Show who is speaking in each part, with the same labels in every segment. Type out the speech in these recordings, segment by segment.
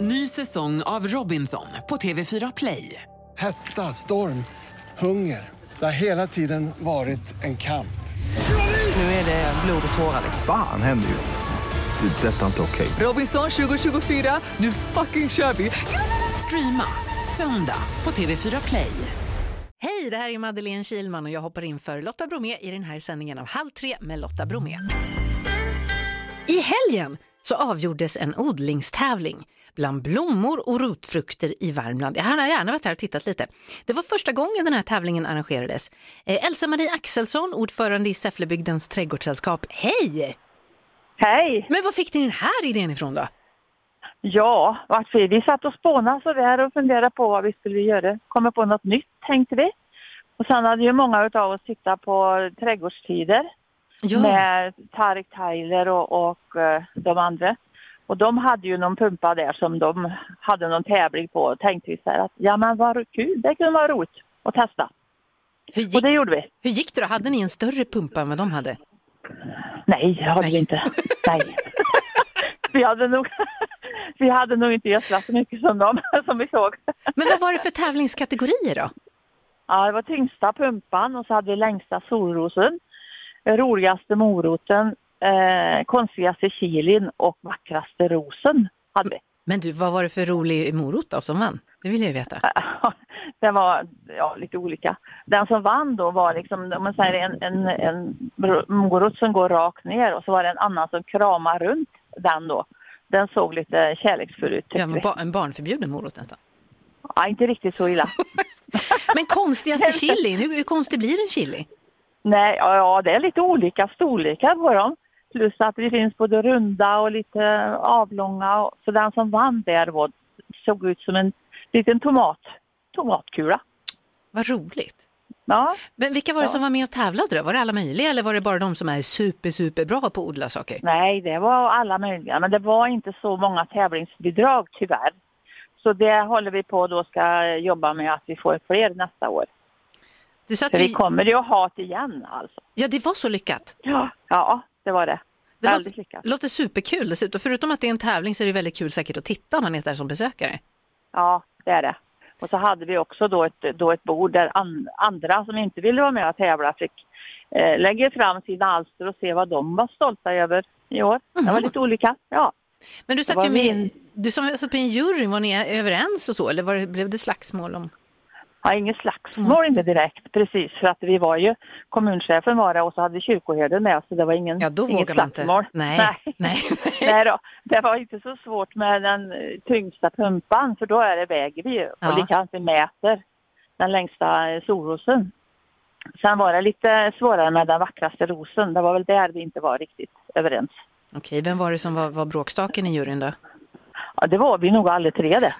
Speaker 1: Ny säsong av Robinson på TV4 Play.
Speaker 2: Hetta, storm, hunger. Det har hela tiden varit en kamp.
Speaker 1: Nu är det blod och tårar.
Speaker 3: Fan händer just nu. Det. är Detta är inte okej.
Speaker 1: Robinson 2024, nu fucking kör vi! Streama söndag på TV4 Play.
Speaker 4: Hej, det här är Madeleine Kilman och jag hoppar in för Lotta Bromé i den här sändningen av Halv tre med Lotta Bromé. I helgen så avgjordes en odlingstävling bland blommor och rotfrukter i Värmland. Jag hade gärna varit här och tittat lite. Det var första gången den här tävlingen arrangerades. Eh, Elsa-Marie Axelsson, ordförande i Säfflebygdens trädgårdssällskap. Hej!
Speaker 5: Hej!
Speaker 4: Men var fick ni den här idén ifrån då?
Speaker 5: Ja, vart vi? Vi satt och spånade sådär och funderade på vad vi skulle göra. Komma på något nytt tänkte vi. Och sen hade ju många av oss tittat på trädgårdstider
Speaker 4: Ja.
Speaker 5: med Tarek Tyler och, och eh, de andra. Och de hade ju någon pumpa där som de hade någon tävling på och tänkte vi så här att ja men vad kul, det kunde vara roligt att testa.
Speaker 4: Hur, gick,
Speaker 5: Och det gjorde vi.
Speaker 4: hur gick det då? Hade ni en större pumpa än vad de hade?
Speaker 5: Nej, det hade vi
Speaker 4: Nej.
Speaker 5: inte. Nej. vi, hade nog, vi hade nog inte gödslat så mycket som de som vi såg.
Speaker 4: Men vad var det för tävlingskategorier då?
Speaker 5: Ja, det var tyngsta pumpan och så hade vi längsta solrosen, roligaste moroten, eh, konstigaste kilin och vackraste rosen hade vi.
Speaker 4: Men du, vad var det för rolig morot då som vann? Det vill jag ju veta.
Speaker 5: Det var ja, lite olika. Den som vann då var liksom, om man säger en, en, en morot som går rakt ner och så var det en annan som kramar runt den då. Den såg lite kärleksfull ut
Speaker 4: Ja,
Speaker 5: tyckte
Speaker 4: men
Speaker 5: vi.
Speaker 4: ba- en barnförbjuden morot nästan.
Speaker 5: Ja, inte riktigt så illa.
Speaker 4: Men konstigaste chilin, hur, hur konstig blir en chili?
Speaker 5: Nej, ja, ja, det är lite olika storlekar på dem. Plus att det finns både runda och lite avlånga. och- Så den som vann där var, såg ut som en liten tomat, tomatkula.
Speaker 4: Vad roligt.
Speaker 5: Ja,
Speaker 4: Men vilka var det
Speaker 5: Ja.
Speaker 4: som var med och tävlade då? Var det alla möjliga eller var det bara de som är super, superbra på att odla saker?
Speaker 5: nej, det var alla möjliga. Men det var inte så många tävlingsbidrag tyvärr. Så det håller vi på då ska jobba med att vi får fler nästa år.
Speaker 4: Du satt
Speaker 5: För vi
Speaker 4: ju...
Speaker 5: kommer ju att ha det igen alltså.
Speaker 4: Ja, det var så lyckat.
Speaker 5: Ja, ja det var det.
Speaker 4: Det
Speaker 5: Väldigt lyckat.
Speaker 4: låter, låter superkul dessutom. Förutom att det är en tävling så är det väldigt kul säkert att titta om man är där som besökare.
Speaker 5: Ja, det är det. Och så hade vi också då ett, då ett bord där an, andra som inte ville vara med och tävla fick eh, lägga fram sina alster och se vad de var stolta över i år. Det
Speaker 4: Mhm.
Speaker 5: var lite olika. Ja.
Speaker 4: Men du satt
Speaker 5: var
Speaker 4: ju med,
Speaker 5: min-
Speaker 4: du som satt med i en jury, var ni överens och så eller var det, blev det slagsmål om?
Speaker 5: Ja, inget
Speaker 4: Mm.
Speaker 5: slagsmål inte direkt precis för att vi var ju kommunchefen var det och så hade kyrkoherden med så det var ingen,
Speaker 4: Ja, då
Speaker 5: inget
Speaker 4: vågar man inte.
Speaker 5: slagsmål.
Speaker 4: Nej, nej.
Speaker 5: Nej då, det var inte så svårt med den eh, tyngsta pumpan för då är det väger vi ju
Speaker 4: Ja.
Speaker 5: och likadant vi mäter den längsta eh, solrosen. Sen var det lite svårare med den vackraste rosen. Det var väl där vi inte var riktigt överens.
Speaker 4: Okej, vem var det som var, var bråkstaken i juryn då?
Speaker 5: Ja, det var vi nog alla tre det.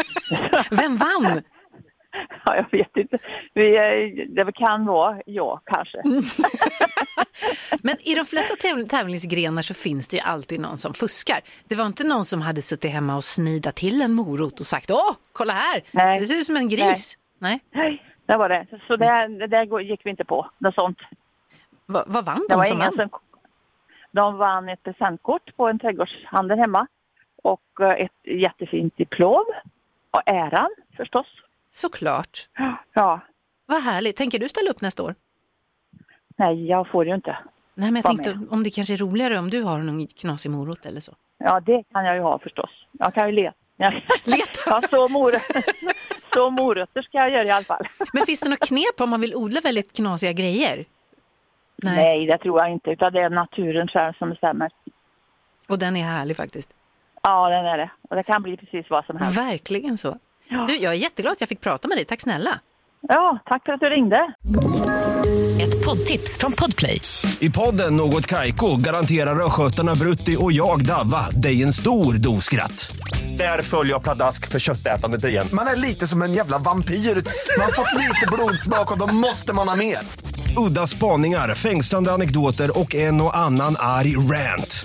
Speaker 4: Vem vann?
Speaker 5: Ja, jag vet inte. Vi, eh, det kan vara jag kanske.
Speaker 4: Men i de flesta täv- tävlingsgrenar så finns det ju alltid någon som fuskar. Det var inte någon som hade suttit hemma och snidat till en morot och sagt åh, kolla här,
Speaker 5: Nej.
Speaker 4: det ser ut som en gris. Nej.
Speaker 5: Nej, det var det. Så det, det där går- gick vi inte på. Något sånt.
Speaker 4: Va- Vad vann
Speaker 5: Det
Speaker 4: de
Speaker 5: var
Speaker 4: som
Speaker 5: ingen
Speaker 4: vann?
Speaker 5: som... De vann ett presentkort på en trädgårdshandel hemma och eh, ett jättefint diplom och äran förstås.
Speaker 4: Såklart.
Speaker 5: Ja,
Speaker 4: Vad härligt. Tänker du ställa upp nästa år?
Speaker 5: nej, jag får ju inte.
Speaker 4: Nej, men jag
Speaker 5: Var
Speaker 4: tänkte om det kanske är roligare om du har någon knasig morot eller så.
Speaker 5: Ja, det kan jag ju ha förstås. Jag kan ju leta.
Speaker 4: Leta.
Speaker 5: Ja, så, mor... så morötter ska jag göra i alla fall.
Speaker 4: Men finns det något knep om man vill odla väldigt knasiga grejer? Nej.
Speaker 5: Nej. det tror jag inte. Utan det är naturen själv som bestämmer.
Speaker 4: Och den är härlig faktiskt.
Speaker 5: Ja, den är det. Och det kan bli precis vad som helst.
Speaker 4: Verkligen så.
Speaker 5: Ja.
Speaker 4: Du, jag är jätteglad att jag fick prata med dig. Tack snälla.
Speaker 5: Ja, tack för att du ringde.
Speaker 6: Ett poddtips från Podplay.
Speaker 7: I podden Något Kaiko garanterar östgötarna Brutti och jag, Davva, dig en stor dos skratt. Där följer jag pladask för köttätandet igen.
Speaker 8: Man är lite som en jävla vampyr. Man har fått lite blodsmak och då måste man ha mer.
Speaker 7: Udda spaningar, fängslande anekdoter och en och annan arg rant.